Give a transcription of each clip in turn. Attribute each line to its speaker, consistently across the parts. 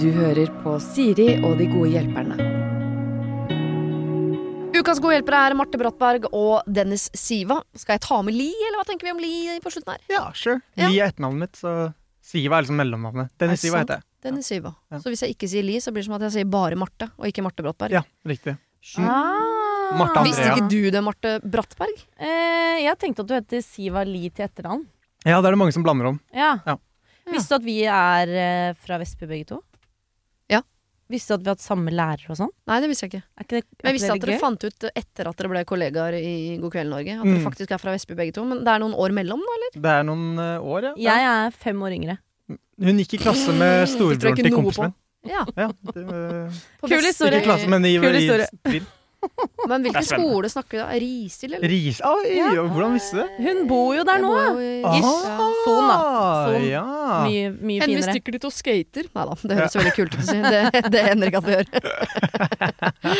Speaker 1: Du hører på Siri og de gode hjelperne.
Speaker 2: Ukas gode hjelpere er Marte Brattberg og Dennis Siva. Skal jeg ta med Li, eller hva tenker vi om Li på slutten her?
Speaker 3: Ja, sure.
Speaker 2: Ja.
Speaker 3: Li er etternavnet mitt, så Siva er liksom mellomnavnet.
Speaker 2: Er
Speaker 3: Dennis
Speaker 2: det
Speaker 3: Siva
Speaker 2: sant?
Speaker 3: heter jeg.
Speaker 2: Dennis Siva.
Speaker 3: Ja.
Speaker 2: Så hvis jeg ikke sier Li, så blir det som at jeg sier bare Marte, og ikke Marte Brattberg.
Speaker 3: Ja, riktig.
Speaker 4: Ah.
Speaker 3: Martha Andrea.
Speaker 2: Visste ikke du det, Marte Brattberg?
Speaker 4: Eh, jeg tenkte at du heter Siva Li til etternavn.
Speaker 3: Ja, det er det mange som blander om.
Speaker 4: Ja.
Speaker 3: Ja.
Speaker 4: Visste du at vi er eh, fra Vestby begge to?
Speaker 2: Ja.
Speaker 4: Visste du at vi har hatt samme lærer og sånn?
Speaker 2: Nei, det visste jeg ikke.
Speaker 4: Er ikke det,
Speaker 2: Men
Speaker 4: er
Speaker 2: jeg visste
Speaker 4: ikke
Speaker 2: at dere
Speaker 4: det gøy?
Speaker 2: fant ut etter at dere ble kollegaer i God kveld Norge, at dere
Speaker 3: Mm.
Speaker 2: faktisk er fra Vestby begge to. Men det er noen år mellom, da? eller?
Speaker 3: Det er noen eh, år, ja.
Speaker 4: Jeg er fem år yngre.
Speaker 3: Hun gikk i klasse med
Speaker 2: tror jeg
Speaker 3: storebroren
Speaker 2: ikke
Speaker 3: til
Speaker 2: noe
Speaker 3: kompisen min.
Speaker 2: Ja,
Speaker 3: Ja, det, eh,
Speaker 2: på
Speaker 4: Kul
Speaker 2: Vestby.
Speaker 4: historie.
Speaker 3: ikke i klasse, men i,
Speaker 4: Kul
Speaker 3: i
Speaker 4: historie.
Speaker 3: tvil.
Speaker 2: Men
Speaker 3: Det
Speaker 2: hvilken
Speaker 3: er spennende.
Speaker 2: skole snakker vi da? Risil, eller?
Speaker 3: Ris... Oi,
Speaker 4: Ja.
Speaker 3: hvordan visste du det?
Speaker 4: Hun bor jo der nå.
Speaker 2: Jeg bor jo i-
Speaker 3: Ah,
Speaker 2: Ja.
Speaker 4: Son, da. Son.
Speaker 3: Ja.
Speaker 4: Mye, mye
Speaker 2: Henry
Speaker 4: finere.
Speaker 2: stikker dit og skater. Nei da, det høres veldig kult ut å si. Det, det hender ikke at vi gjør.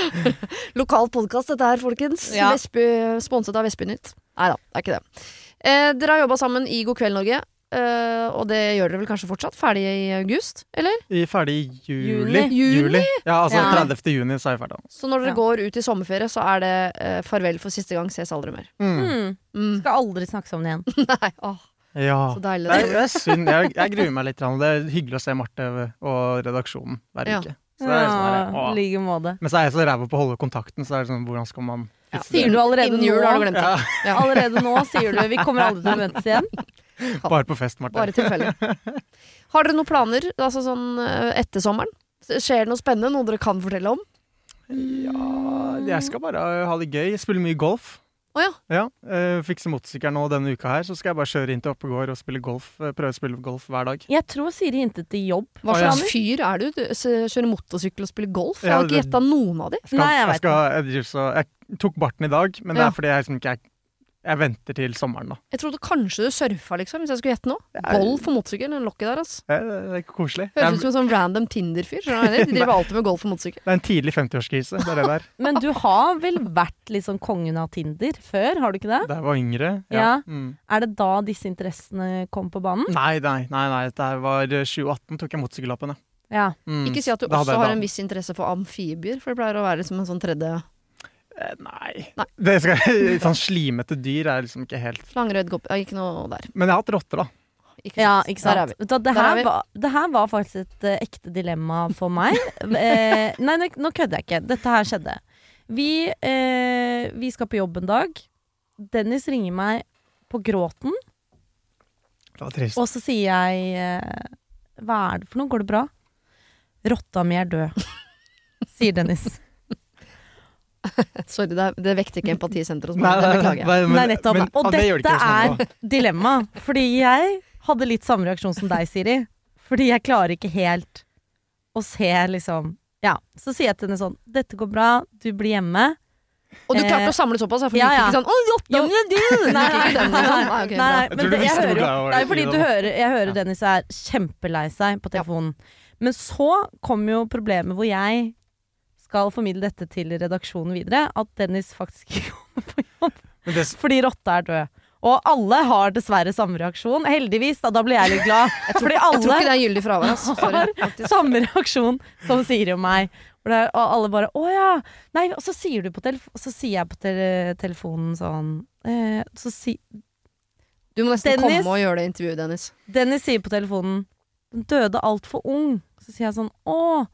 Speaker 2: Lokal podkast dette her, folkens.
Speaker 4: Ja.
Speaker 2: Vestby, sponset av Vestbynytt. Nei da, det er ikke det. Eh, dere har jobba sammen i God kveld Norge, eh, og det gjør dere vel kanskje fortsatt? Ferdig i august, eller?
Speaker 3: I- Ferdig i juli.
Speaker 4: Juni.
Speaker 2: Juni?
Speaker 3: Ja, altså
Speaker 4: Ja.
Speaker 3: 30. juni, så er jeg ferdig.
Speaker 2: Så når dere
Speaker 4: Ja.
Speaker 2: går ut i sommerferie, så er det eh, farvel for siste gang, ses aldri mer.
Speaker 3: Mm.
Speaker 4: Mm.
Speaker 2: Mm.
Speaker 4: Skal aldri snakke sammen igjen.
Speaker 2: Nei, åh,
Speaker 3: Ja.
Speaker 2: så deilig.
Speaker 3: Nei,
Speaker 2: det
Speaker 3: det er synd. Jeg, jeg gruer meg litt. grann. Det er hyggelig å se Marte og redaksjonen hver
Speaker 2: Ja.
Speaker 3: uke. Så det er sånn her,
Speaker 4: Ja, I
Speaker 3: åh.
Speaker 4: like måte.
Speaker 3: Men så er jeg så ræva på å holde kontakten, så er det sånn, hvordan skal man
Speaker 2: Ja.
Speaker 3: fikse
Speaker 4: Sier
Speaker 3: det?
Speaker 4: du allerede
Speaker 2: Innen jul har du
Speaker 4: nå?
Speaker 2: glemt det. Ja.
Speaker 4: Allerede nå sier du vi kommer aldri til å møtes igjen?
Speaker 3: Bare på fest, Marte.
Speaker 2: Bare tilfeldig. Har dere noen planer altså sånn, eh, etter sommeren? Skjer det noe spennende? Noe dere kan fortelle om?
Speaker 3: Ja, jeg skal bare uh, ha det gøy. Spille mye golf.
Speaker 2: Å ja.
Speaker 3: Ja, uh, Fikse motorsykkelen nå denne uka her, så skal jeg bare kjøre inn til Oppegård og spille golf. Uh, prøve å spille golf hver dag.
Speaker 4: Jeg tror Siri hintet til jobb.
Speaker 2: Hva
Speaker 3: Å, ja.
Speaker 2: slags fyr er du? du? s- Kjører motorsykkel og spiller golf? Jeg
Speaker 3: Ja,
Speaker 2: har ikke
Speaker 3: det-
Speaker 2: gjetta noen av de.
Speaker 3: Jeg, skal,
Speaker 4: Nei, jeg
Speaker 3: jeg,
Speaker 4: vet
Speaker 3: skal, jeg, driver så- jeg tok barten i dag, men det
Speaker 2: Ja.
Speaker 3: er fordi jeg liksom ikke jeg, jeg venter til sommeren, da.
Speaker 2: Jeg trodde kanskje du surfa, liksom, hvis jeg skulle gjette noe.
Speaker 3: er-
Speaker 2: Golf og motorsykkel, den lokket der, ass.
Speaker 3: Eh, Det er, det er koselig. Det
Speaker 2: Høres
Speaker 3: er,
Speaker 2: ut som en sånn random Tinder-fyr. skjønner du hva jeg mener? De driver alltid med golf og motorsykkel.
Speaker 3: det er en tidlig 50-årskrise. Det er det der.
Speaker 4: Men du har vel vært liksom kongen av Tinder før, har du ikke det?
Speaker 3: Da jeg var yngre.
Speaker 4: Ja.
Speaker 3: Mm.
Speaker 4: Er det da disse interessene kom på banen?
Speaker 3: Nei, nei, nei, nei. Det her var uh, 2018, tok jeg motorsykkellappen, ja.
Speaker 4: Ja.
Speaker 3: Mm.
Speaker 2: Ikke si at du
Speaker 3: Da
Speaker 2: også
Speaker 3: hadde jeg
Speaker 2: har
Speaker 3: da-
Speaker 2: en viss interesse for amfibier, for det pleier å være liksom en sånn tredje
Speaker 3: Eh, Nei.
Speaker 2: Nei.
Speaker 3: Det skal, sånn slimete dyr er liksom ikke helt
Speaker 2: slangrød kopp Ja, ikke noe der.
Speaker 3: Men jeg har hatt rotter, da.
Speaker 2: Ikke sant.
Speaker 4: ja, ikke sant.
Speaker 2: Der er vi.
Speaker 4: Vet du hva, Det,
Speaker 2: Der er
Speaker 4: her
Speaker 2: vi.
Speaker 4: var, det her var faktisk et eh, ekte dilemma for meg. eh, nei, nå- nå kødder jeg ikke. Dette her skjedde. Vi, eh, vi skal på jobb en dag. Dennis ringer meg på gråten,
Speaker 3: Det var trist.
Speaker 4: og så sier jeg eh, Hva er det for noe? Går det bra? Rotta mi er død, sier Dennis.
Speaker 2: Sorry, det, er- det vekte ikke empatisenteret hos
Speaker 3: Nei,
Speaker 2: meg.
Speaker 3: nei,
Speaker 2: Det
Speaker 3: nei,
Speaker 2: beklager jeg.
Speaker 3: nei, men-
Speaker 4: Nei, nettopp.
Speaker 3: men-
Speaker 4: og
Speaker 3: ja, det gjør det
Speaker 4: dette
Speaker 3: ikke sånn nå.
Speaker 4: er dilemma. Fordi jeg hadde litt samme reaksjon som deg, Siri. Fordi jeg klarer ikke helt å se, liksom Ja. Så sier jeg til henne sånn Dette går bra, du blir hjemme.
Speaker 2: Og du
Speaker 4: Eh,
Speaker 2: klarte å samle såpass, da, for du
Speaker 4: ja,
Speaker 2: gikk
Speaker 4: ja.
Speaker 2: ikke sånn Å, rotta
Speaker 4: Jo.
Speaker 2: mi er død!
Speaker 4: Nei,
Speaker 2: Du gikk ikke
Speaker 4: nei,
Speaker 2: den,
Speaker 4: nei,
Speaker 2: liksom.
Speaker 4: nei,
Speaker 2: ok,
Speaker 4: nei,
Speaker 2: bra.
Speaker 4: nei,
Speaker 3: Jeg
Speaker 4: men
Speaker 3: tror du
Speaker 4: det- jeg
Speaker 3: visste hvor
Speaker 4: hører jo
Speaker 3: glad jeg var
Speaker 4: Nei,
Speaker 3: i
Speaker 4: fordi
Speaker 3: Frida
Speaker 4: du
Speaker 3: nå.
Speaker 4: hører, jeg hører Dennis er kjempelei seg på telefonen. Men så kom jo problemet hvor jeg skal formidle dette til redaksjonen videre. At Dennis faktisk ikke kommer på jobb.
Speaker 3: Men det,
Speaker 4: fordi rotta er død. Og alle har dessverre samme reaksjon. Heldigvis, da, da blir jeg litt glad. Fordi
Speaker 2: Jeg tror ikke
Speaker 4: alle
Speaker 2: det er gyldig fravær, ass. Sorry.
Speaker 4: har samme reaksjon som Siri og meg. Og, det, er- og alle bare 'Å ja'. Nei, og så sier du på telef og så sier jeg på tele telefonen sånn eh, Så si
Speaker 2: Du må nesten
Speaker 4: Dennis.
Speaker 2: komme og gjøre det intervjuet, Dennis.
Speaker 4: Dennis sier på telefonen 'Den døde altfor ung'. Så sier jeg sånn 'Å,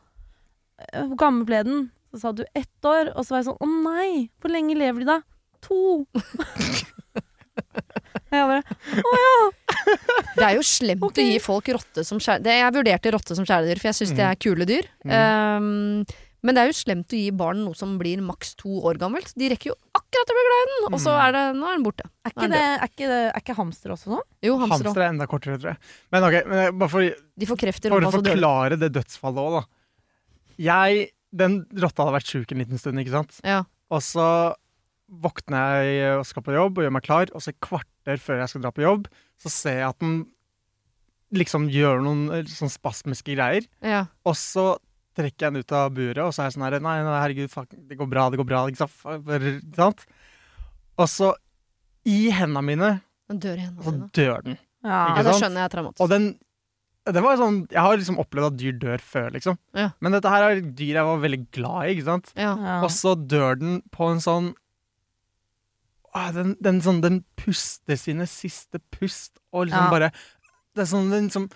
Speaker 4: eh, hvor gammel ble den?' Så sa du 'ett år', og så var jeg sånn 'Å nei, hvor lenge lever de da?' To. Og jeg bare
Speaker 2: Det er jo slemt
Speaker 4: Ok.
Speaker 2: å gi folk rotte som kjæledyr. Jeg vurderte rotte som kjæledyr, for jeg syns
Speaker 3: Mm.
Speaker 2: det er kule dyr. Um, men det er jo slemt å gi barn noe som blir maks to år gammelt. De rekker jo akkurat å bli glad i den, og så
Speaker 3: Mm.
Speaker 2: er det, nå er den borte. Nå
Speaker 4: Er ikke,
Speaker 2: er den
Speaker 4: det, er, ikke det, er ikke hamster også sånn?
Speaker 2: Jo, hamster
Speaker 3: hamster
Speaker 2: òg.
Speaker 3: er enda kortere, tror jeg. Men ok, men jeg- bare for,
Speaker 2: De får kreft i
Speaker 3: for
Speaker 2: rumpa,
Speaker 3: å
Speaker 2: så dør de.
Speaker 3: forklare det dødsfallet òg, da. Jeg, den rotta hadde vært sjuk en liten stund, ikke sant.
Speaker 2: Ja.
Speaker 3: Og så våkner jeg og skal på jobb og gjør meg klar, og så et kvarter før jeg skal dra på jobb, så ser jeg at den liksom gjør noen eh, sånn spasmiske greier.
Speaker 2: Ja.
Speaker 3: Og så trekker jeg den ut av buret, og så er jeg sånn her Nei, nei herregud, fuck, det går bra, det går bra. Ikke sant? Fuck, bare- ikke sant? Og så, i hendene mine,
Speaker 2: Den dør i
Speaker 3: så
Speaker 2: hendene dine.
Speaker 3: dør den.
Speaker 2: Ja,
Speaker 4: Ja.
Speaker 3: Altså, Ikke
Speaker 2: det
Speaker 3: sant?
Speaker 2: skjønner jeg er traumatisk.
Speaker 3: Og den det var jo sånn, Jeg har liksom opplevd at dyr dør før, liksom.
Speaker 2: Ja.
Speaker 3: Men dette her er dyr jeg var veldig glad i. ikke sant?
Speaker 2: ja.
Speaker 4: Ja.
Speaker 3: Og så dør den på en sånn Åh, den, den, sånn, den puster sine siste pust, og liksom
Speaker 4: Ja.
Speaker 3: bare Det er sånn den liksom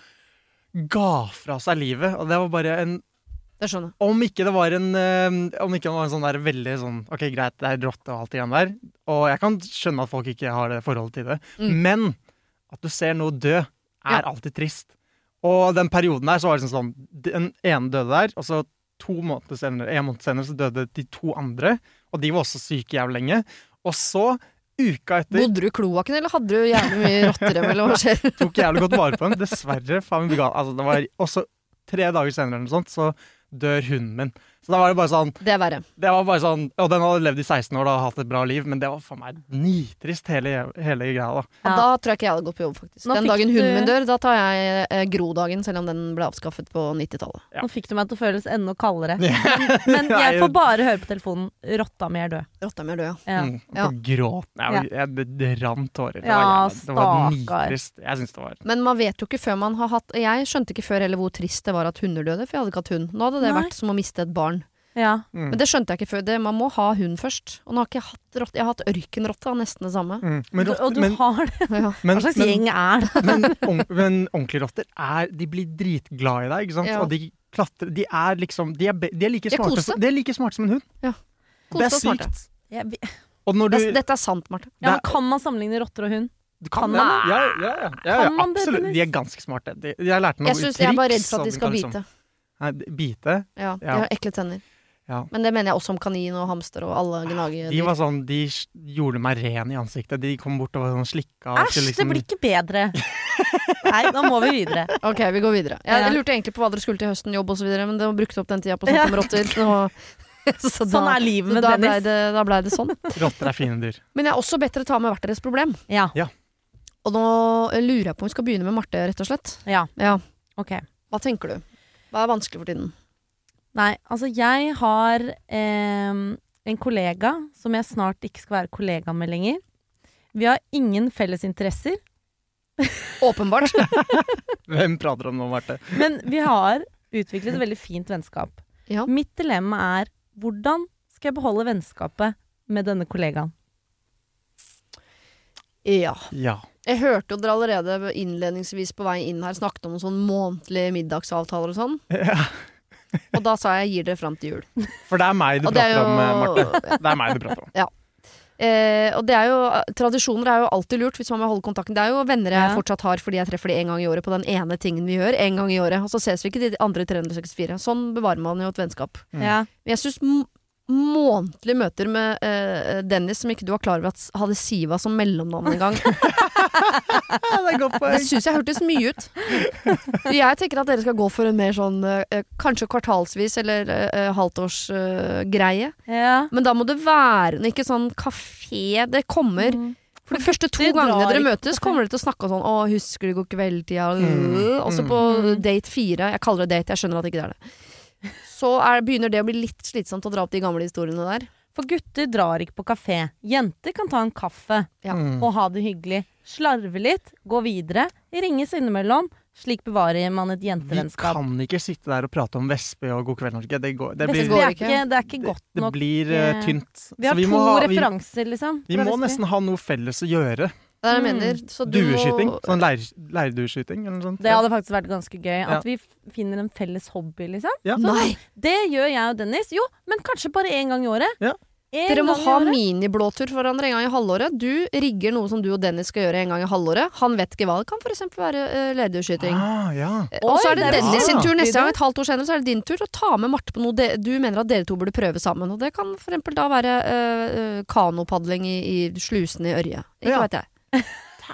Speaker 3: ga fra seg livet, og det var bare en
Speaker 2: Det skjønner jeg.
Speaker 3: Om ikke det var en eh, Om ikke det var en sånn der veldig sånn Ok, greit, det er rotte og alt igjen der, og jeg kan skjønne at folk ikke har det forholdet til det,
Speaker 2: Mm.
Speaker 3: men at du ser noe dø, er
Speaker 2: Ja.
Speaker 3: alltid trist. Og den perioden der, så var det liksom sånn Den ene døde der, og så to måneder senere, en måned senere så døde de to andre, og de var også syke jævlig lenge. Og så, uka etter,
Speaker 2: Bodde du i kloakken, eller hadde du jævlig mye rotterem, eller hva skjer?
Speaker 3: tok jeg jævlig godt vare på dem. Dessverre. Faen, vi ga, altså, det var også tre dager senere eller noe sånt, så dør hunden min. Så da var det bare sånn
Speaker 2: Det er verre.
Speaker 3: det var bare sånn, Og den hadde levd i 16 år da, og hatt et bra liv, men det var faen meg nitrist, hele, hele greia. da.
Speaker 2: Ja.
Speaker 4: Ja.
Speaker 2: Da tror jeg ikke jeg hadde gått på jobb, faktisk.
Speaker 4: Nå
Speaker 2: den
Speaker 4: fikk
Speaker 2: dagen
Speaker 4: du-
Speaker 2: hunden min dør, da tar jeg eh, grodagen, selv om den ble avskaffet på 90-tallet.
Speaker 3: Ja.
Speaker 4: Nå fikk du meg til å føles enda kaldere. Men
Speaker 3: Nei,
Speaker 4: jeg får bare høre på telefonen. Rotta mi er død.
Speaker 2: Rotta mi er død, ja.
Speaker 4: Ja.
Speaker 3: Mm,
Speaker 2: Ja.
Speaker 3: På gråt. Jeg, var- jeg, det, det rant tårer. Det
Speaker 4: Ja,
Speaker 3: var, jævlig- det var
Speaker 4: stakkar.
Speaker 3: nitrist. Jeg syns det var
Speaker 2: Men man vet jo ikke før man har hatt Jeg skjønte ikke før heller hvor trist det var at hunder døde, for jeg hadde ikke hatt hund. Nå hadde det
Speaker 4: Nei.
Speaker 2: vært som å miste et barn.
Speaker 4: Ja.
Speaker 3: mm.
Speaker 2: Men det skjønte jeg ikke før. Det, man må ha hund først. Og nå har ikke jeg hatt rotte. Jeg har hatt ørkenrotte, og nesten det samme.
Speaker 3: mm. men, rotter,
Speaker 4: og du
Speaker 3: men,
Speaker 4: har det.
Speaker 2: Ja.
Speaker 3: men,
Speaker 4: Hva slags
Speaker 3: men,
Speaker 4: gjeng er det?
Speaker 3: men, ong- men ordentlige rotter er, de blir dritglade i deg, ikke sant?
Speaker 2: Ja.
Speaker 3: og de klatrer. De er liksom De er, be- de er, like,
Speaker 2: De er
Speaker 3: smarte,
Speaker 2: kose.
Speaker 3: som- de er like smarte som en hund. Det
Speaker 2: Koste
Speaker 3: er
Speaker 2: og smarte.
Speaker 3: sykt.
Speaker 4: Jeg vet-
Speaker 3: Og når du,
Speaker 2: Det- Dette er sant, Marte.
Speaker 4: Ja,
Speaker 3: det
Speaker 4: men
Speaker 3: er-
Speaker 4: kan man sammenligne rotter og hund?
Speaker 3: du
Speaker 4: kan
Speaker 3: det,
Speaker 4: man-
Speaker 3: Ja, ja, ja, ja, ja,
Speaker 4: Kan man det,
Speaker 3: absolutt.
Speaker 4: Dennis?
Speaker 3: De er ganske smarte. De, jeg lærte
Speaker 2: Jeg,
Speaker 3: noen
Speaker 2: synes, jeg er bare redd for
Speaker 3: og
Speaker 2: at de skal
Speaker 3: kan liksom-
Speaker 2: bite.
Speaker 3: Nei, de- bite.
Speaker 2: Ja, De
Speaker 3: Ja.
Speaker 2: har ekle tenner.
Speaker 3: Ja.
Speaker 2: Men det mener jeg også om kanin og hamster og alle
Speaker 3: De
Speaker 2: gnagedyr.
Speaker 3: var sånn, de s- gjorde meg ren i ansiktet. De kom bort og var sånn slikka. og
Speaker 4: Æsj,
Speaker 3: skulle
Speaker 4: det
Speaker 3: liksom-
Speaker 4: blir ikke bedre. Nei, da må vi videre.
Speaker 2: Ok, vi går videre. Jeg,
Speaker 4: Ja.
Speaker 2: jeg lurte egentlig på hva dere skulle til høsten, jobb osv., men det var brukt opp den tida på å
Speaker 4: Ja.
Speaker 2: snakke om rotter. Nå, så da,
Speaker 4: Sånn er livet
Speaker 2: så
Speaker 4: med
Speaker 2: da blei
Speaker 4: Dennis.
Speaker 2: det, da ble det sånn.
Speaker 3: Rotter er fine dyr.
Speaker 2: Men jeg er også bedt dere ta med hvert deres problem.
Speaker 4: Ja,
Speaker 2: Og nå lurer jeg på om vi skal begynne med Marte, rett og slett.
Speaker 4: ja,
Speaker 2: Ja,
Speaker 4: ok.
Speaker 2: Hva tenker du? Hva er vanskelig for tiden?
Speaker 4: Nei, altså jeg har eh, en kollega som jeg snart ikke skal være kollega med lenger. Vi har ingen felles interesser,
Speaker 2: Åpenbart.
Speaker 3: Hvem prater om nå, Marte?
Speaker 4: men vi har utviklet et veldig fint vennskap.
Speaker 2: Ja.
Speaker 4: Mitt dilemma er hvordan skal jeg beholde vennskapet med denne kollegaen?
Speaker 2: ja.
Speaker 3: Ja.
Speaker 2: Jeg hørte jo dere allerede innledningsvis på vei inn her snakket om noen sånn månedlige middagsavtaler og sånn. Og da sa jeg 'gir dere fram til jul'.
Speaker 3: For det er meg du
Speaker 2: Og det er
Speaker 3: prater om, eh,
Speaker 2: jo
Speaker 3: Marte. Det er meg du prater om.
Speaker 2: Eh, og det er jo, Tradisjoner er jo alltid lurt hvis man må holde kontakten. Det er jo venner jeg
Speaker 4: Ja.
Speaker 2: fortsatt har fordi jeg treffer de en gang i året på den ene tingen vi gjør. En gang i året, Og så ses vi ikke de andre 364. Sånn bevarer man jo et vennskap.
Speaker 3: Mm.
Speaker 4: Ja.
Speaker 2: Men jeg syns månedlige møter med eh, Dennis, som ikke du var klar over at s- hadde Siva som mellomnavn en gang,
Speaker 3: Ja, Mm. det er godt
Speaker 2: det
Speaker 3: poeng.
Speaker 2: syns jeg hørtes mye ut. Jeg tenker at dere skal gå for en mer sånn eh, kanskje kvartalsvis eller uh, halvtårsgreie.
Speaker 4: ja.
Speaker 2: Men da må det være Ikke sånn kafé. Det kommer
Speaker 4: Mm.
Speaker 2: For de første to
Speaker 4: det drar
Speaker 2: gangene dere
Speaker 4: ikke
Speaker 2: møtes, kommer dere til å snakke om sånn 'Å, husker du går kveldtida?'
Speaker 3: Mm.
Speaker 2: Og så
Speaker 3: Mm.
Speaker 2: på
Speaker 4: Mm.
Speaker 2: date fire Jeg kaller det date, jeg skjønner at det ikke er det. Så er, begynner det å bli litt slitsomt å dra opp de gamle historiene der.
Speaker 4: For gutter drar ikke på kafé. Jenter kan ta en kaffe
Speaker 2: Ja.
Speaker 3: Mm.
Speaker 4: og ha det hyggelig. Slarve litt, gå videre, ringes innimellom. Slik bevarer man et
Speaker 3: Vi
Speaker 4: jentevennskap.
Speaker 3: kan ikke sitte der og prate om Vestby og God kveld, Norge. Det, går, det
Speaker 4: Det,
Speaker 3: blir,
Speaker 2: går
Speaker 4: er
Speaker 2: ikke.
Speaker 4: ikke, det er ikke
Speaker 3: det,
Speaker 4: godt
Speaker 3: det
Speaker 4: nok.
Speaker 3: blir eh,
Speaker 4: eh,
Speaker 3: tynt.
Speaker 4: Vi har
Speaker 3: Så
Speaker 4: to
Speaker 3: må ha- vi,
Speaker 4: referanser, liksom.
Speaker 3: vi
Speaker 4: fra
Speaker 3: må
Speaker 4: Vestby.
Speaker 3: nesten ha noe felles å gjøre.
Speaker 2: Det er det jeg
Speaker 4: Mm.
Speaker 2: mener. Så du må-
Speaker 3: Dueskyting. Sånn leir, leirdueskyting eller noe sånt.
Speaker 4: Det hadde faktisk vært ganske gøy.
Speaker 3: Ja.
Speaker 4: At vi f- finner en felles hobby, liksom.
Speaker 3: Ja.
Speaker 2: Nei!
Speaker 4: Det gjør jeg og Dennis. Jo, men kanskje bare én gang i året.
Speaker 3: Ja.
Speaker 4: En
Speaker 2: Dere må
Speaker 4: gang i
Speaker 2: ha
Speaker 4: året.
Speaker 2: miniblåtur for hverandre en gang i halvåret. Du rigger noe som du og Dennis skal gjøre en gang i halvåret. Han vet ikke hva. Det kan f.eks. være uh, lederskyting.
Speaker 3: Ah, ja.
Speaker 2: Og så
Speaker 4: Oi,
Speaker 2: er det
Speaker 3: det er
Speaker 2: Dennis sin
Speaker 3: bra.
Speaker 2: tur neste gang. Et halvt år senere så er det din tur å ta med Marte på noe de- du mener at dere to burde prøve sammen. Og det kan for eksempel da være øh, øh, kanopadling i, i slusene i Ørje. Ikke
Speaker 3: Ja.
Speaker 2: vet jeg.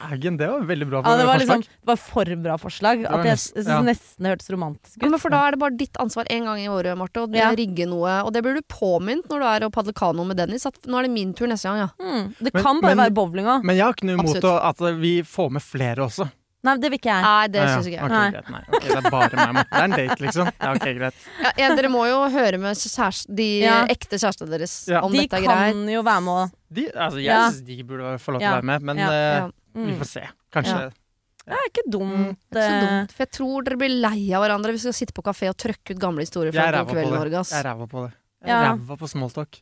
Speaker 3: Dægen, det var veldig bra
Speaker 4: Ja, det var
Speaker 3: forslag.
Speaker 4: liksom Det var for bra forslag.
Speaker 3: var
Speaker 4: At jeg
Speaker 3: nest-
Speaker 4: s-
Speaker 3: ja.
Speaker 4: nesten det hørtes romantisk
Speaker 2: Ja,
Speaker 4: ut.
Speaker 2: men for da er det bare ditt ansvar én gang i året, Marte, å
Speaker 4: Ja.
Speaker 2: rigge noe. Og det blir du påminnet når du er og padler kano med Dennis, at nå er det min tur neste gang, ja.
Speaker 4: Mm. Det
Speaker 3: Men-
Speaker 4: kan bare
Speaker 3: men-
Speaker 4: være bowling òg.
Speaker 3: Men jeg har ikke noe imot å,
Speaker 2: Absolutt.
Speaker 3: at vi får med flere også.
Speaker 4: Nei, det vil ikke jeg.
Speaker 2: Nei, det
Speaker 3: Ah, ja.
Speaker 2: syns ikke jeg.
Speaker 3: Ok,
Speaker 4: Nei.
Speaker 3: greit, nei. Ok, det er bare meg. Marte. Det er en date, liksom. Ja, ok, greit.
Speaker 2: Ja, ja, dere må jo høre med kjærest, de
Speaker 4: Ja.
Speaker 2: ekte kjærestene deres
Speaker 3: Ja.
Speaker 2: om
Speaker 4: De
Speaker 2: dette er greit.
Speaker 4: kan jo være med og
Speaker 3: De, altså, jeg
Speaker 4: Ja.
Speaker 3: synes de burde få lov til
Speaker 4: Ja.
Speaker 3: å være med, men
Speaker 4: Ja.
Speaker 3: eh,
Speaker 2: Ja.
Speaker 3: vi
Speaker 4: mm.
Speaker 3: får se. Kanskje.
Speaker 4: Det er ikke
Speaker 3: Mm,
Speaker 4: dumt.
Speaker 2: Så
Speaker 4: eh,
Speaker 2: dumt, for jeg tror dere blir lei av hverandre hvis vi skal sitte på kafé og trøkke ut gamle historier
Speaker 3: Jeg er
Speaker 2: fra
Speaker 3: ræva på
Speaker 2: kvelden
Speaker 3: det.
Speaker 2: Norge. Ass.
Speaker 3: Jeg er ræva på det. Jeg er
Speaker 4: Ja.
Speaker 3: Ræva på smalltalk.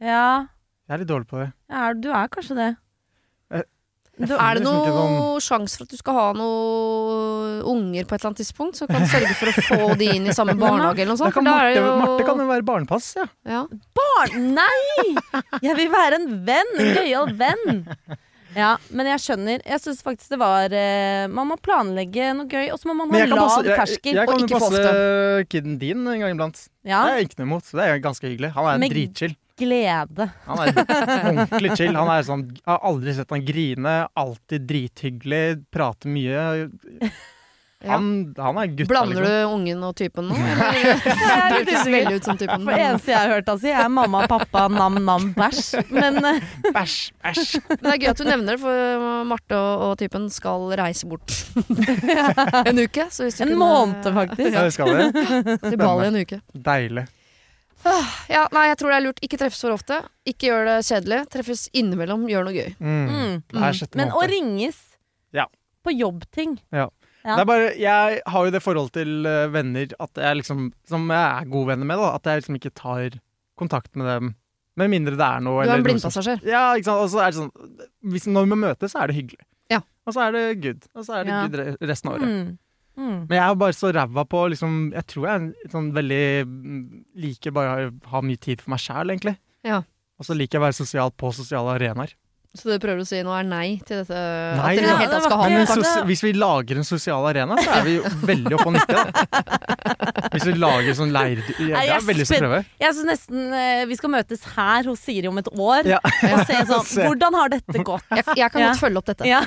Speaker 4: Ja,
Speaker 3: Jeg er litt dårlig på det.
Speaker 4: er, du er kanskje det.
Speaker 3: Jeg
Speaker 2: Er
Speaker 3: føler
Speaker 2: det
Speaker 3: liksom ikke sånn-
Speaker 2: noe sjanse for at du skal ha noen unger på et eller annet tidspunkt, som kan sørge for å få de inn i samme barnehage eller noe
Speaker 3: Da
Speaker 2: sånt?
Speaker 3: kan
Speaker 2: for da er
Speaker 3: Marte,
Speaker 2: det jo-
Speaker 3: Marte kan jo være barnepass, ja.
Speaker 2: ja.
Speaker 4: Barn, nei! Jeg vil være en venn. En gøyal venn. Ja, men jeg skjønner. Jeg syns faktisk det var eh, Man må planlegge noe gøy, og så må man
Speaker 3: Men
Speaker 4: ha
Speaker 3: jeg kan
Speaker 4: lav
Speaker 3: passe, jeg,
Speaker 4: terskel.
Speaker 3: jeg
Speaker 2: og
Speaker 3: kan
Speaker 2: ikke
Speaker 3: jo
Speaker 2: for
Speaker 3: passe kiden din en gang iblant.
Speaker 4: Ja,
Speaker 3: Det er jeg ikke noe imot. så Det er jo ganske hyggelig. Han er
Speaker 4: Men-
Speaker 3: dritchill.
Speaker 4: glede.
Speaker 3: Han er ordentlig chill. Han er sånn, jeg har aldri sett han grine. Alltid drithyggelig. Prater mye.
Speaker 2: Ja.
Speaker 3: Han, han er gutta,
Speaker 2: Blander
Speaker 3: liksom.
Speaker 2: du ungen og typen nå? eller? Det hørtes veldig ut som typen.
Speaker 4: For det eneste jeg har hørt han si, er mamma, pappa, nam, nam, bæsj. Men eh,
Speaker 3: Bæsj, bæsj.
Speaker 2: Men det er gøy at du nevner det, for Marte og, og typen skal reise bort en uke. Så hvis du
Speaker 4: eh, en
Speaker 2: kunne-
Speaker 4: måned, faktisk.
Speaker 3: Ja, det skal vi.
Speaker 2: Til Bali en uke.
Speaker 3: Deilig.
Speaker 2: Ja, nei, jeg tror det er lurt. Ikke treffes for ofte. Ikke gjør det kjedelig. Treffes innimellom, gjør noe gøy.
Speaker 3: Mm.
Speaker 4: Mm.
Speaker 3: Det er sjette
Speaker 4: Men å
Speaker 3: måned.
Speaker 4: ringes
Speaker 3: Ja.
Speaker 4: på jobbting. ja.
Speaker 3: Det er bare, jeg har jo det forholdet til eh, venner at jeg liksom, som jeg er gode venner med, da, at jeg liksom ikke tar kontakt med dem. Med mindre det er noe.
Speaker 2: Du er en
Speaker 3: eller noe som-
Speaker 2: blindpassasjer.
Speaker 3: Ja, ikke sant? Og så er det sånn hvis, Når vi møtes, så er det hyggelig.
Speaker 2: Ja.
Speaker 3: Og så er det good. Og så er det
Speaker 4: Ja.
Speaker 3: good re- resten av året.
Speaker 4: Mm. Mm.
Speaker 3: Men jeg er bare så ræva på liksom, Jeg tror jeg er en litt sånn veldig mm, Liker bare å ha mye tid for meg sjæl, egentlig.
Speaker 2: Ja.
Speaker 3: Og så liker jeg å være sosial på sosiale arenaer.
Speaker 2: Så det du prøver å si nå, er nei til dette?
Speaker 3: Nei.
Speaker 2: at dere i det hele tatt skal ha
Speaker 4: Ja,
Speaker 3: Men
Speaker 4: det
Speaker 3: en
Speaker 2: kontakt?
Speaker 4: var-
Speaker 3: sos- hvis vi lager en sosial arena, så er vi jo veldig oppe og nikker. da. Hvis vi lager sånn leir... Jeg, jeg
Speaker 4: jeg
Speaker 3: har veldig lyst til å prøve.
Speaker 4: Jeg syns nesten eh, vi skal møtes her hos Siri om et år
Speaker 3: Ja.
Speaker 4: og se sånn
Speaker 3: Se.
Speaker 4: Hvordan har dette gått?
Speaker 2: Jeg, jeg kan
Speaker 4: Ja.
Speaker 2: godt følge opp dette.
Speaker 4: Ja.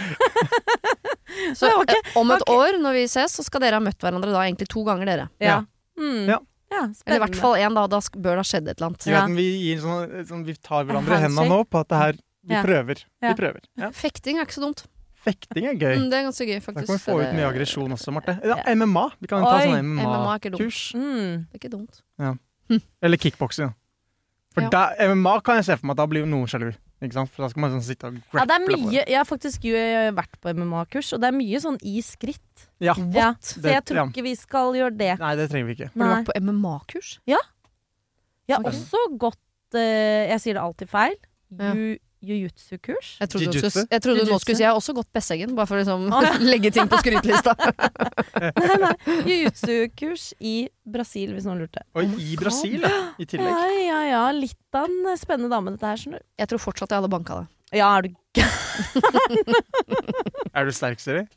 Speaker 2: Så
Speaker 4: Det var ikke-
Speaker 2: eh, om et år, når vi ses, så skal dere ha møtt hverandre da egentlig to ganger, dere.
Speaker 3: Ja.
Speaker 4: Mm.
Speaker 3: Ja.
Speaker 4: Ja,
Speaker 2: Eller i hvert
Speaker 4: spennende.
Speaker 2: fall én, da. Da sk- bør det ha skjedd et eller annet.
Speaker 3: Jeg vet, vi, gir sånn, sånn, vi tar hverandre i hendene nå
Speaker 4: Handshake.
Speaker 3: på at det her Vi
Speaker 4: Ja.
Speaker 3: prøver.
Speaker 4: Ja.
Speaker 3: Vi prøver. Ja.
Speaker 2: Fekting er ikke så dumt.
Speaker 3: Fekting er gøy.
Speaker 2: Mm, det er ganske gøy,
Speaker 3: Da
Speaker 2: faktisk. Eh,
Speaker 3: kan vi få
Speaker 2: Det-
Speaker 3: ut mye aggresjon også, Marte. Ja, MMA. Vi kan jo
Speaker 4: Oi,
Speaker 3: ta sånn
Speaker 2: MMA er ikke dumt.
Speaker 3: MMA-kurs.
Speaker 4: Mm.
Speaker 2: Det er ikke dumt.
Speaker 3: Eller kickboksing. For
Speaker 2: Ja.
Speaker 3: da, MMA kan jeg se for meg at da blir jo noen sjalu. Ikke sant? For da skal man sånn sitte og
Speaker 4: Ja, det er
Speaker 3: grapple på
Speaker 4: mye, jeg har faktisk jo eh, vært på MMA-kurs, og det er mye sånn i skritt.
Speaker 3: Ja.
Speaker 4: Ja, så
Speaker 3: Det-
Speaker 4: jeg tror
Speaker 3: ja.
Speaker 4: ikke vi skal gjøre det.
Speaker 3: Nei, det trenger vi ikke.
Speaker 2: Har du
Speaker 4: Nei.
Speaker 2: vært på MMA-kurs?
Speaker 4: Jeg har
Speaker 2: Ok.
Speaker 4: også gått eh, Jeg sier det alltid feil.
Speaker 2: Ja.
Speaker 4: Ju- Jujutsu-kurs.
Speaker 2: Jeg trodde, du
Speaker 3: Jiu-jitsu?
Speaker 2: skulle, jeg trodde du nå
Speaker 4: Jiu-jitsu?
Speaker 2: skulle si jeg har også gått Besseggen, bare for å liksom,
Speaker 4: Å, ja.
Speaker 2: legge ting på skrytelista.
Speaker 4: Nei, nei. Jujutsu-kurs i Brasil, hvis noen lurte.
Speaker 2: Oh
Speaker 3: Og i Brasil, ja. I
Speaker 4: Ja,
Speaker 3: tillegg.
Speaker 4: ja, ja. Litt av en spennende dame, dette her, skjønner du.
Speaker 2: Jeg tror fortsatt jeg hadde banka det.
Speaker 4: Ja, er du
Speaker 3: Er du sterk, Siri?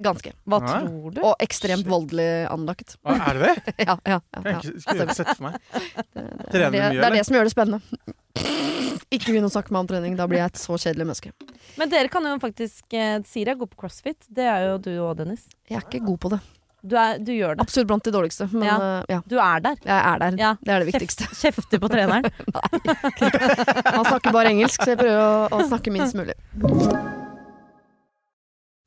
Speaker 2: Ganske.
Speaker 4: Hva
Speaker 3: Ja.
Speaker 4: tror du?
Speaker 2: Og ekstremt voldelig anlagt.
Speaker 3: Å, Er du det?
Speaker 2: Ja, ja, ja,
Speaker 3: Jeg
Speaker 2: ja. altså,
Speaker 3: har ikke- skulle ikke sett for meg.
Speaker 2: Det, det,
Speaker 3: Trener
Speaker 2: er
Speaker 3: du
Speaker 2: det,
Speaker 3: mye,
Speaker 2: det er
Speaker 3: eller?
Speaker 2: det som gjør det spennende. Ikke begynn å snakke meg om trening, da blir jeg et så kjedelig menneske.
Speaker 4: Men dere kan jo faktisk eh, Siri er god på crossfit. Det er jo du òg, Dennis.
Speaker 2: Jeg er ikke god på det.
Speaker 4: Du, er, du gjør det.
Speaker 2: Absolutt blant de dårligste, men ja.
Speaker 4: Ja.
Speaker 2: ja.
Speaker 4: Du er der.
Speaker 2: Jeg er der.
Speaker 4: Ja.
Speaker 2: Det er det viktigste.
Speaker 4: Kjefter på treneren.
Speaker 2: Han snakker bare engelsk, så jeg prøver å, å snakke minst mulig.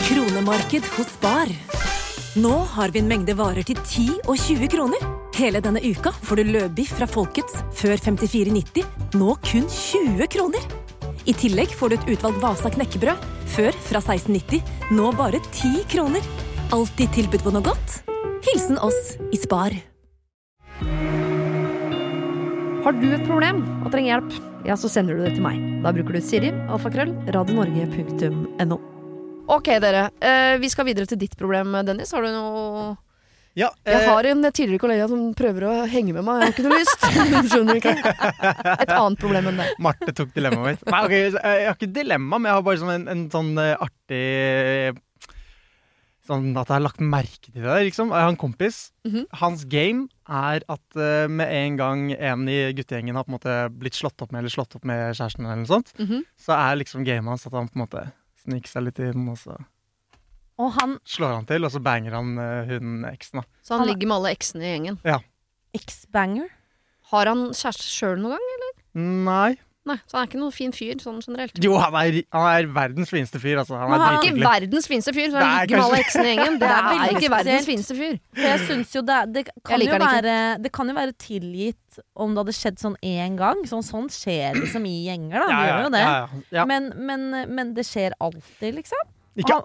Speaker 5: Kronemarked hos Spar. Nå har vi en mengde varer til 10 og 20 kroner. Hele denne uka får du løbiff fra Folkets før 54,90, nå kun 20 kroner. I tillegg får du et utvalgt Vasa knekkebrød, før fra 16,90, nå bare 10 kroner. Alltid tilbud på noe godt. Hilsen oss i Spar.
Speaker 2: Har du et problem og trenger hjelp, ja, så sender du det til meg. Da bruker du Siri, alfakrøll, radionorge.no. Ok, dere. Eh, vi skal videre til ditt problem, Dennis. Har du noe
Speaker 3: Ja,
Speaker 2: Jeg
Speaker 3: eh,
Speaker 2: har en tidligere kollega som prøver å henge med meg. Jeg har ikke noe lyst. Skjønner du ikke? Et annet problem enn det.
Speaker 3: Marte tok dilemmaet mitt. Nei, ok, så, eh, Jeg har ikke dilemma, men jeg har bare sånn en, en sånn eh, artig eh, Sånn at jeg har lagt merke til det der, liksom. Jeg har en kompis.
Speaker 2: Mhm.
Speaker 3: Hans game er at eh, med en gang en i guttegjengen har på en måte blitt slått opp med eller slått opp med kjæresten, eller noe sånt,
Speaker 2: Mhm.
Speaker 3: så er liksom gamet hans at han på en måte sniker seg litt inn, og så
Speaker 4: Og han
Speaker 3: slår han til, og så banger han eh, hun eksen. da.
Speaker 2: Så han ligger med alle eksene i gjengen.
Speaker 4: X-banger.
Speaker 2: Har han kjæreste sjøl noen gang?
Speaker 3: Nei.
Speaker 2: Nei, så han er ikke noen fin fyr sånn generelt.
Speaker 3: Jo, han er, han er verdens fineste fyr, altså. Han
Speaker 4: Men han
Speaker 3: er
Speaker 4: er
Speaker 2: Ikke
Speaker 3: drithyggelig.
Speaker 2: verdens fineste fyr, så han
Speaker 3: Nei,
Speaker 2: ligger med
Speaker 3: kanskje.
Speaker 2: alle eksene i gjengen. Det
Speaker 4: er
Speaker 2: er
Speaker 4: veldig
Speaker 2: ikke verdens
Speaker 4: spesielt.
Speaker 2: fineste fyr.
Speaker 4: For jeg synes jo det, er- det, kan
Speaker 2: Jeg
Speaker 4: jo
Speaker 2: liker den ikke.
Speaker 4: være, det kan jo være tilgitt om det hadde skjedd sånn én gang. Sånn, sånn skjer liksom i gjenger, da. Det gjør jo det.
Speaker 3: Ja, ja, ja.
Speaker 4: Men, men, men det skjer alltid, liksom.
Speaker 3: Ikke
Speaker 4: Ah.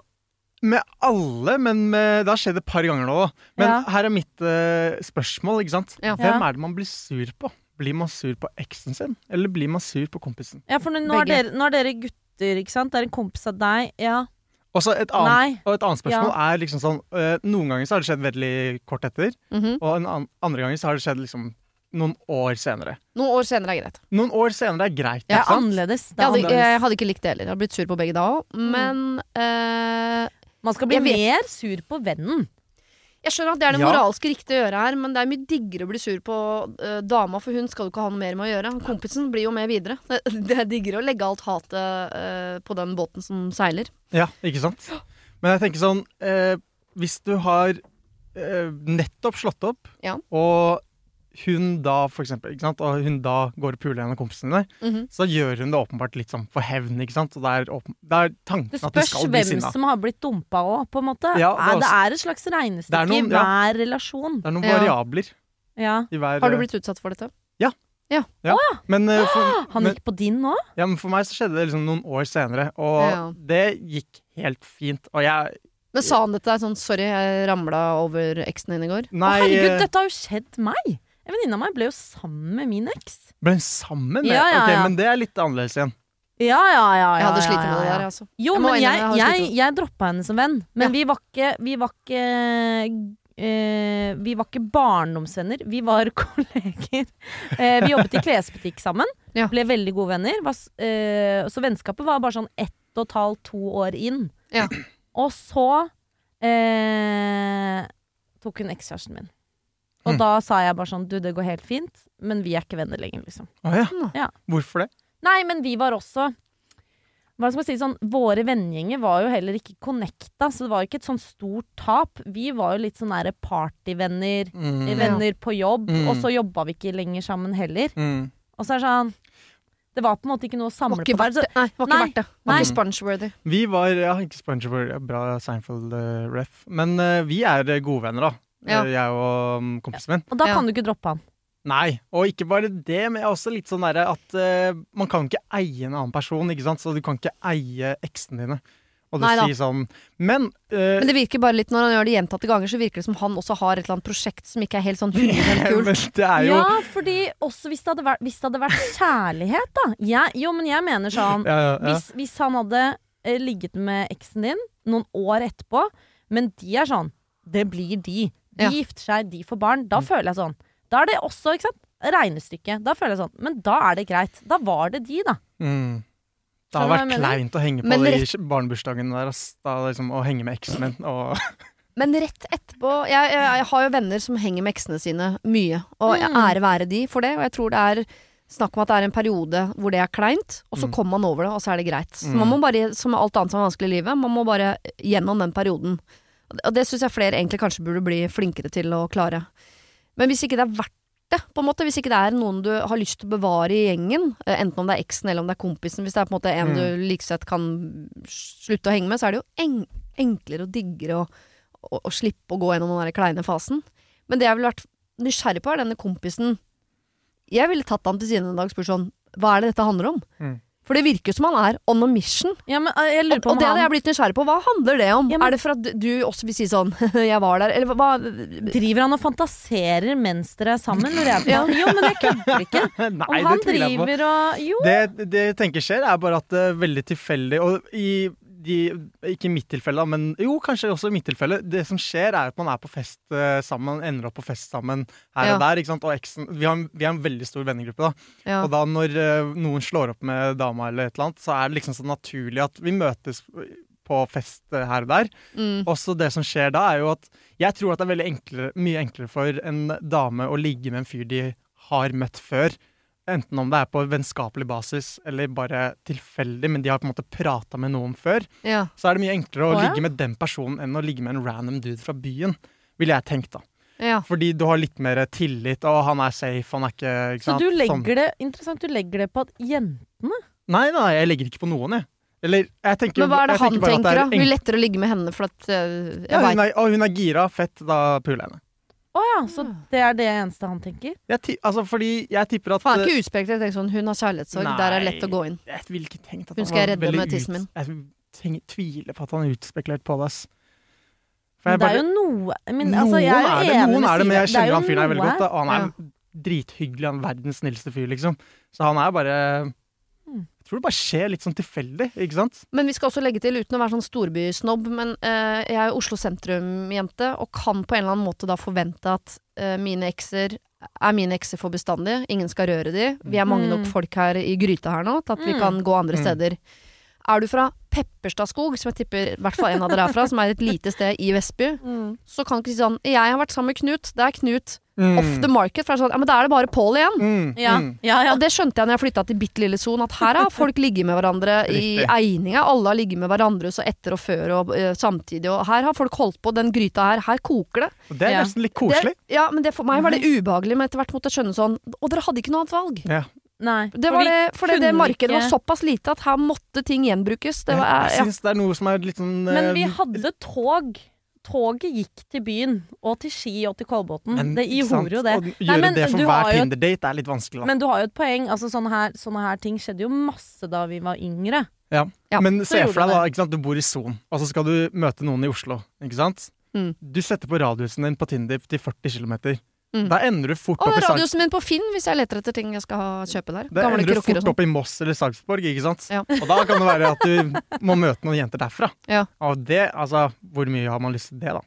Speaker 3: med alle, men med, det har skjedd et par ganger nå. da. Men
Speaker 4: Ja.
Speaker 3: her er mitt eh, spørsmål. ikke sant?
Speaker 2: Ja.
Speaker 3: Hvem
Speaker 4: Ja.
Speaker 3: er det man blir sur på? Blir man sur på eksen sin, eller blir man sur på kompisen?
Speaker 4: Ja, for nå, nå, er
Speaker 2: Begge.
Speaker 4: dere, nå er dere gutter, ikke sant? Det er en kompis av deg. Ja.
Speaker 3: Og så et annet,
Speaker 4: Nei.
Speaker 3: og et annet spørsmål er liksom sånn eh, Noen ganger så har det skjedd veldig kort etter,
Speaker 2: Mhm.
Speaker 3: og en an andre ganger så har det skjedd liksom noen år senere.
Speaker 2: Noen år senere er greit.
Speaker 3: Noen år senere er greit,
Speaker 4: Det
Speaker 3: ikke
Speaker 4: er
Speaker 3: sant?
Speaker 4: annerledes.
Speaker 2: Jeg
Speaker 4: Det er
Speaker 2: hadde, jeg
Speaker 4: annerledes. Mm.
Speaker 2: hadde ikke likt det heller. Jeg hadde blitt sur på begge da òg. Men eh,
Speaker 4: Man skal bli
Speaker 2: jeg vet-
Speaker 4: mer sur på vennen.
Speaker 2: jeg skjønner at det er det
Speaker 3: Ja.
Speaker 2: moralske riktige å gjøre her, men det er mye diggere å bli sur på eh, dama, for hun skal jo ikke ha noe mer med å gjøre. Kompisen blir jo med videre. Det, det er diggere å legge alt hatet eh, på den båten som seiler.
Speaker 3: Ja, ikke sant? Men jeg tenker sånn eh, Hvis du har eh, nettopp slått opp,
Speaker 2: Ja.
Speaker 3: og hun da for eksempel, ikke sant? Og hun da går og puler en av kompisene dine,
Speaker 2: Mhm.
Speaker 3: så gjør hun det åpenbart litt sånn for hevn. ikke sant? Og det er, åpen, det er
Speaker 4: Det
Speaker 3: tanken at du
Speaker 4: spørs
Speaker 3: skal bli
Speaker 4: hvem
Speaker 3: sinna.
Speaker 4: som har blitt dumpa òg, på en måte.
Speaker 3: Ja, det er
Speaker 4: Nei, det er et slags regnestykke
Speaker 3: Det er noen-
Speaker 4: i hver relasjon.
Speaker 3: Det er noen
Speaker 2: Ja.
Speaker 3: variabler
Speaker 4: Ja.
Speaker 3: i hver
Speaker 2: Har du blitt utsatt for dette?
Speaker 3: Men, eh, for,
Speaker 4: Han
Speaker 3: men,
Speaker 4: gikk på din nå?
Speaker 3: ja, men for meg så skjedde det liksom noen år senere, og
Speaker 2: Ja.
Speaker 3: det gikk helt fint. Og jeg
Speaker 2: Men sa han dette sånn 'sorry, jeg ramla over eksen din i går'?
Speaker 4: Å,
Speaker 3: Nei,
Speaker 4: herregud,
Speaker 3: eh,
Speaker 4: dette har jo skjedd meg! En venninne av meg ble jo sammen med min eks.
Speaker 3: ble hun sammen? med-
Speaker 4: Ja, ja,
Speaker 3: Ok,
Speaker 4: ja.
Speaker 3: Men det er litt annerledes igjen.
Speaker 4: Ja, ja, ja.
Speaker 2: Jeg hadde
Speaker 4: ja,
Speaker 2: slitt med
Speaker 4: ja,
Speaker 2: det
Speaker 4: ja.
Speaker 2: der, altså.
Speaker 4: Jo,
Speaker 2: Jeg må
Speaker 4: men jeg,
Speaker 2: innrømme, jeg har
Speaker 4: jeg,
Speaker 2: slitt
Speaker 4: jeg droppa henne som venn. Men
Speaker 2: Ja.
Speaker 4: vi var ikke Vi var ikke eh, vi var ikke barndomsvenner, vi var kolleger. Eh, vi jobbet i klesbutikk sammen.
Speaker 2: Ja.
Speaker 4: Ble veldig gode venner. Var, s- eh, så vennskapet var bare sånn ett og et halvt, to år inn.
Speaker 2: Ja.
Speaker 4: Og så eh, tok hun ekskjæresten min. Og
Speaker 2: Hm.
Speaker 3: Mm.
Speaker 4: da sa jeg bare sånn Du, det går helt fint, men vi er ikke venner lenger, liksom.
Speaker 3: Å ja.
Speaker 4: Ja.
Speaker 3: Hvorfor det?
Speaker 4: Nei, men vi var også hva skal man si, sånn, Våre vennegjenger var jo heller ikke connecta, så det var ikke et sånn stort tap. Vi var jo litt sånn nære partyvenner,
Speaker 3: Mm.
Speaker 4: venner på jobb,
Speaker 3: Mm.
Speaker 4: og så jobba vi ikke lenger sammen heller.
Speaker 3: Mm.
Speaker 4: Og så er det sånn Det var på en måte ikke noe å samle
Speaker 2: Var ikke
Speaker 4: på.
Speaker 2: verdt det. Nei, var ikke
Speaker 4: Nei.
Speaker 2: verdt det. Var
Speaker 4: Nei.
Speaker 2: ikke sponge-worthy.
Speaker 3: Vi var ja, ikke SpongeBob, ja, bra Seinfeld-ref. Men eh, vi er eh, gode venner, da.
Speaker 2: Ja.
Speaker 3: Eh, Jeg og um, kompisen min.
Speaker 4: Og da
Speaker 2: Ja.
Speaker 4: kan du ikke droppe han.
Speaker 3: Nei, og ikke bare det, men jeg er også litt sånn derre at eh, man kan ikke eie en annen person, ikke sant? så du kan ikke eie eksene dine. Og du
Speaker 2: Nei da.
Speaker 3: sier sånn Men, eh,
Speaker 2: Men det virker bare litt, når han gjør det gjentatte ganger, så virker det som han også har et eller annet prosjekt som ikke er helt sånn 100 kult.
Speaker 3: men det er jo
Speaker 4: Ja, fordi også hvis det hadde vært, hvis det hadde vært kjærlighet, da. Jeg, jo, men jeg mener sånn
Speaker 3: ja, ja, ja.
Speaker 4: Hvis, hvis han hadde eh, ligget med eksen din noen år etterpå, men de er sånn Det blir de. De
Speaker 2: Ja.
Speaker 4: gifter seg, de får barn.
Speaker 3: Mm.
Speaker 4: Da føler jeg sånn. Da er det også ikke sant? regnestykket. Da føler jeg sånn. Men da er det greit. Da var det de, da.
Speaker 3: Mm. Det har vært
Speaker 4: Skjønner du hva jeg mener?
Speaker 3: kleint å henge på
Speaker 2: Men
Speaker 3: det i barnebursdagen der. Ass. Da, liksom, å henge med eksen min. Og,
Speaker 2: Men rett etterpå jeg, jeg, jeg har jo venner som henger med eksene sine mye, og
Speaker 4: Mm.
Speaker 2: ære være de for det. Og jeg tror det er Snakk om at det er en periode hvor det er kleint, og så
Speaker 3: Mm.
Speaker 2: kommer man over det, og så er det greit. Så
Speaker 3: Mm.
Speaker 2: man må bare, som med alt annet som er vanskelig i livet, man må bare gjennom den perioden. Og det- Og det syns jeg flere egentlig kanskje burde bli flinkere til å klare. Men hvis ikke det er verdt det, på en måte, hvis ikke det er noen du har lyst til å bevare i gjengen, eh, enten om det er eksen eller om det er kompisen, hvis det er på en måte en
Speaker 3: Mm.
Speaker 2: du like sett kan slutte å henge med, så er det jo eng enklere og diggere å, å, å slippe å gå gjennom den der kleine fasen. Men det jeg ville vært nysgjerrig på, er denne kompisen jeg ville tatt han til siden en dag og spurt sånn Hva er det dette handler om?
Speaker 3: Mm.
Speaker 2: For det virker som han er on a mission.
Speaker 4: Ja, men eh,
Speaker 2: Og,
Speaker 4: jeg lurer på
Speaker 2: og
Speaker 4: om
Speaker 2: det hadde
Speaker 4: han
Speaker 2: jeg blitt nysgjerrig på. Hva handler det om?
Speaker 4: Ja, men-
Speaker 2: Er det for at du også vil si sånn 'jeg var der', eller hva?
Speaker 4: Driver han og fantaserer mens dere er sammen? lurer jeg på? Jo, men jeg kødder ikke. Om
Speaker 3: Nei, det
Speaker 4: han
Speaker 3: tviler jeg på.
Speaker 4: driver og Jo.
Speaker 3: Det, det jeg tenker skjer, er bare at det er veldig tilfeldig. Og i de, ikke i mitt tilfelle, da, men jo, kanskje også i mitt tilfelle. Det som skjer, er at man er på fest eh, sammen, ender opp på fest sammen her og
Speaker 2: Ja.
Speaker 3: der. ikke sant? Og eksen, vi har, en- vi har en veldig stor vennegruppe. da.
Speaker 2: Ja.
Speaker 3: Og da når eh, noen slår opp med dama, eller et eller annet, så er det liksom så naturlig at vi møtes på fest eh, her og der.
Speaker 2: Mm.
Speaker 3: Også det som skjer da, er jo at jeg tror at det er veldig enklere, mye enklere for en dame å ligge med en fyr de har møtt før. Enten om det er på vennskapelig basis eller bare tilfeldig, men de har på en måte prata med noen før.
Speaker 2: Ja.
Speaker 3: Så er det mye enklere å
Speaker 4: Å, ja.
Speaker 3: ligge med den personen enn å ligge med en random dude fra byen, ville jeg tenkt da.
Speaker 2: ja.
Speaker 3: Fordi du har litt mer tillit, og han er safe, han er ikke, ikke
Speaker 4: Så
Speaker 3: sant?
Speaker 4: du
Speaker 3: Sånn.
Speaker 4: legger det Interessant, du legger det på at jentene
Speaker 3: Nei, nei, jeg legger ikke på noen, jeg. Eller, jeg tenker,
Speaker 2: Men hva er det
Speaker 3: jeg
Speaker 2: han
Speaker 3: bare at
Speaker 2: tenker, da?
Speaker 3: er
Speaker 2: Det blir
Speaker 3: enk-
Speaker 2: lettere å ligge med henne, for at eh, jeg
Speaker 3: Ja,
Speaker 2: vet
Speaker 3: hun, er, å, hun er gira, fett, da puler jeg henne.
Speaker 4: Å ja, så
Speaker 3: Ah.
Speaker 4: det er det eneste han tenker?
Speaker 3: Jeg, ti- altså, fordi jeg tipper at
Speaker 2: Han er ikke uspekulert. jeg tenker Sånn, hun har kjærlighetssorg,
Speaker 3: Nei.
Speaker 2: der er det lett å gå inn.
Speaker 3: Jeg ville ikke tenkt at
Speaker 2: Hun
Speaker 3: han
Speaker 2: skal
Speaker 3: var
Speaker 2: redde
Speaker 3: veldig
Speaker 2: med tissen min.
Speaker 3: Ut, jeg tenk, tviler på at han er utspekulert på det. ass. For
Speaker 4: Men
Speaker 3: jeg
Speaker 4: det er
Speaker 3: bare-
Speaker 4: jo noe men, altså, jeg
Speaker 3: noen er det,
Speaker 4: enig
Speaker 3: noen
Speaker 4: med
Speaker 3: er det, men jeg
Speaker 4: Siri. Det er
Speaker 3: kjenner
Speaker 4: jo
Speaker 3: han fyren her veldig
Speaker 4: noe.
Speaker 3: godt. Da. Og han er drithyggelig, han er verdens snilleste fyr, liksom. Så han er bare
Speaker 4: Mm.
Speaker 3: Jeg tror det bare skjer litt sånn tilfeldig, ikke sant?
Speaker 2: Men vi skal også legge til, uten å være sånn storbysnobb, men eh, jeg er jo Oslo sentrum-jente, og kan på en eller annen måte da forvente at eh, mine ekser er mine ekser for bestandig. Ingen skal røre de. Vi er mange nok
Speaker 4: Mm.
Speaker 2: folk her i gryta her nå til at vi
Speaker 4: Mm.
Speaker 2: kan gå andre
Speaker 3: Mm.
Speaker 2: steder. Er du fra Pepperstadskog, som jeg tipper i hvert fall en av dere er fra, som er et lite sted i Vestby,
Speaker 4: Mm.
Speaker 2: så kan du ikke si sånn Jeg har vært sammen med Knut. Det er Knut.
Speaker 3: Mm.
Speaker 2: Off the market. For det er sånn Ja, men da er det bare Pål igjen.
Speaker 3: Mm.
Speaker 4: Ja,
Speaker 3: Mm.
Speaker 4: ja, ja.
Speaker 2: Og det skjønte jeg når jeg flytta til bitte lille Son, at her har folk ligget med hverandre i
Speaker 3: Riktig.
Speaker 2: eininga. Alle har ligget med hverandre så etter og før og eh, samtidig. Og her har folk holdt på. Den gryta her, her koker det.
Speaker 3: Og det er
Speaker 4: Ja.
Speaker 3: nesten litt
Speaker 2: det.
Speaker 3: koselig.
Speaker 2: Ja, men det for meg var det
Speaker 4: Mhm.
Speaker 2: ubehagelig, men etter hvert måtte jeg skjønne sånn Og dere hadde ikke noe annet valg.
Speaker 3: Ja.
Speaker 4: Nei.
Speaker 2: Det var det, fordi det
Speaker 4: kunne
Speaker 2: markedet var
Speaker 4: ikke-
Speaker 2: såpass lite at her måtte ting gjenbrukes. Det var,
Speaker 3: Jeg
Speaker 2: ja.
Speaker 3: syns det er noe som er litt sånn
Speaker 4: Men vi
Speaker 3: eh,
Speaker 4: hadde tog. Toget gikk til byen, og til Ski og til Kolbotn.
Speaker 3: men,
Speaker 4: Det
Speaker 3: ikke sant?
Speaker 4: gjorde jo det.
Speaker 3: Å gjøre
Speaker 4: Nei, men
Speaker 3: det for
Speaker 4: du
Speaker 3: hver
Speaker 4: har jo-
Speaker 3: Tinder-date er litt vanskelig, da.
Speaker 4: Men du har jo et poeng. Altså, sånne, her, sånne her ting skjedde jo masse da vi var yngre.
Speaker 3: Ja.
Speaker 2: Ja,
Speaker 3: Men se
Speaker 4: gjorde
Speaker 3: for deg
Speaker 4: det.
Speaker 3: da, ikke sant? du bor i Son, og så skal du møte noen i Oslo. ikke sant?
Speaker 2: Mm.
Speaker 3: Du setter på radiusen din på Tinder til 40 km.
Speaker 2: Mm.
Speaker 3: Da ender du fort
Speaker 2: Og
Speaker 3: opp i Sag-
Speaker 2: radiosen min på Finn, hvis jeg leter etter ting jeg skal ha- kjøpe der.
Speaker 3: Da
Speaker 2: Gamle
Speaker 3: ender du
Speaker 2: krukker og
Speaker 3: fort
Speaker 2: sånn.
Speaker 3: opp i Moss eller Sarpsborg. ikke sant?
Speaker 2: Ja.
Speaker 3: Og da kan det være at du må møte noen jenter derfra.
Speaker 2: Ja.
Speaker 3: Og det, altså, Hvor mye har man lyst til det, da?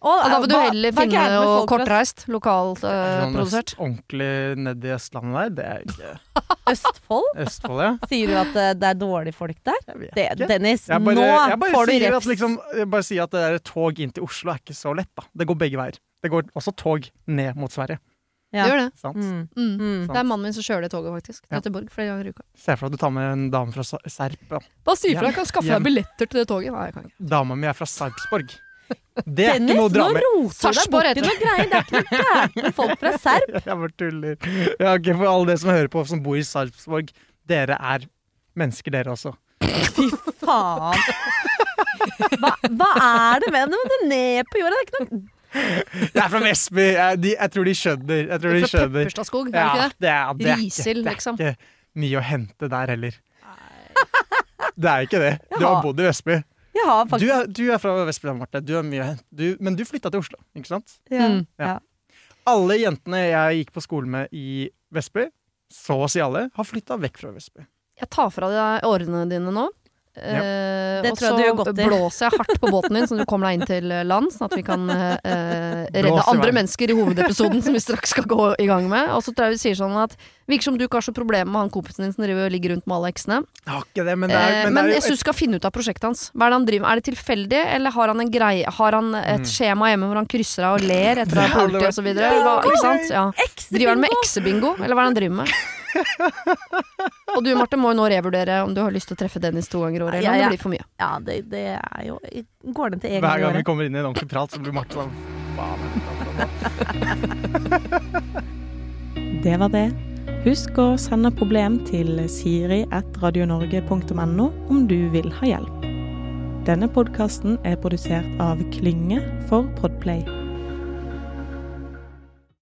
Speaker 4: Og,
Speaker 2: Og da vil du
Speaker 4: hva-
Speaker 2: heller
Speaker 4: hva er
Speaker 2: finne
Speaker 4: gærent med
Speaker 2: noe
Speaker 4: folk fra
Speaker 2: kortreist, lokalt eh,
Speaker 3: Sånn
Speaker 2: produsert.
Speaker 3: øst- Ordentlig nedi Østlandet der, det er ikke
Speaker 4: Østfold?
Speaker 3: Østfold, ja.
Speaker 4: Sier du at eh, det er dårlige folk der?
Speaker 3: Jeg vet
Speaker 4: Det,
Speaker 3: ikke.
Speaker 4: Dennis,
Speaker 3: Jeg bare,
Speaker 4: nå
Speaker 3: jeg bare
Speaker 4: får du
Speaker 3: sier
Speaker 4: refs.
Speaker 3: at liksom, jeg bare sier at det der tog inn til Oslo er ikke så lett, da. Det går begge veier. Det går også tog ned mot Sverige.
Speaker 4: Ja.
Speaker 2: Gjør det.
Speaker 3: sant?
Speaker 4: Mm.
Speaker 2: Mm.
Speaker 4: Mm.
Speaker 2: Det er mannen min som kjører det toget, faktisk. Til
Speaker 3: Ja.
Speaker 2: Göteborg flere ganger i uka.
Speaker 3: Se for deg at du tar med en dame fra Sa- Serp. Ja.
Speaker 2: Bare si ifra,
Speaker 3: Hjem.
Speaker 2: jeg kan skaffe deg
Speaker 3: Hjem.
Speaker 2: billetter til det toget. Nei, jeg kan ikke.
Speaker 3: Dama mi er fra Sarpsborg. Det er
Speaker 4: Dennis,
Speaker 3: ikke noe å
Speaker 4: nå
Speaker 3: dra med.
Speaker 4: roter du deg
Speaker 2: Sarpsborg
Speaker 4: bort i
Speaker 2: heter
Speaker 4: noe greier. Det er ikke noe gærent med folk fra Serb.
Speaker 3: Jeg bare tuller. Ja, ok, for alle dere som hører på, som bor i Sarpsborg, dere er mennesker, dere også.
Speaker 4: Faen. Hva, hva er det med det? Men det er ned på jorda. Det er ikke noe
Speaker 3: Jeg er fra Vestby! Jeg, de, jeg tror de skjønner. Jeg tror de
Speaker 2: Fra
Speaker 3: skjønner.
Speaker 2: Pepperstadskog, er
Speaker 3: Ja,
Speaker 2: det ikke det?
Speaker 3: det er, det er, ikke,
Speaker 2: Risel,
Speaker 3: det er
Speaker 2: liksom.
Speaker 3: ikke mye å hente der heller. Det er ikke det. Du
Speaker 4: Jaha.
Speaker 3: har bodd i Vestby.
Speaker 4: Jeg har
Speaker 3: Du
Speaker 4: faktisk
Speaker 3: er, du er fra Vestby, Marte. Du har mye å hente. Du, men du flytta til Oslo, ikke sant?
Speaker 4: ja.
Speaker 2: Mm.
Speaker 4: Ja.
Speaker 3: Alle jentene jeg gikk på skole med i Vestby, så å si alle, har flytta vekk fra Vestby.
Speaker 2: Jeg tar fra deg årene dine nå. eh,
Speaker 4: Det
Speaker 2: og
Speaker 4: tror jeg du
Speaker 2: så
Speaker 4: gjør godt i.
Speaker 2: blåser jeg hardt på båten din, så du kommer deg inn til land. Sånn at vi kan eh, eh, redde
Speaker 3: Blås i
Speaker 2: andre
Speaker 3: vei.
Speaker 2: mennesker i hovedepisoden som vi straks skal gå i gang med. Og så tror jeg vi sier sånn at virker som du ikke har så problemer med han kompisen din som driver og ligger rundt med alle eksene.
Speaker 3: Jeg har ikke det, men det
Speaker 2: Eh,
Speaker 3: er,
Speaker 2: Men
Speaker 3: det
Speaker 2: jeg
Speaker 3: er jo
Speaker 2: syns du skal finne ut av prosjektet hans. Hva Er det han driver med? Er det tilfeldig, eller har han, en greie, har han et
Speaker 3: Mm.
Speaker 2: skjema hjemme hvor han krysser av og ler etter å
Speaker 3: Det
Speaker 2: ha
Speaker 3: hadde
Speaker 2: pult i
Speaker 3: vært
Speaker 2: osv.? Driver han med eksebingo, eller hva er det han driver med? Og du Marte må jo nå revurdere om du har lyst til å treffe Dennis to ganger i året, eller
Speaker 4: Ja,
Speaker 2: om
Speaker 4: ja.
Speaker 2: det blir for mye.
Speaker 4: Ja, det, det er jo Går den til egen
Speaker 3: Hver gang
Speaker 4: året?
Speaker 3: vi kommer inn i en ordentlig prat, så blir Marte sånn faen.
Speaker 6: Det var det. Husk å sende problem til siri.radionorge.no om du vil ha hjelp. Denne podkasten er produsert av Klynge for Podplay.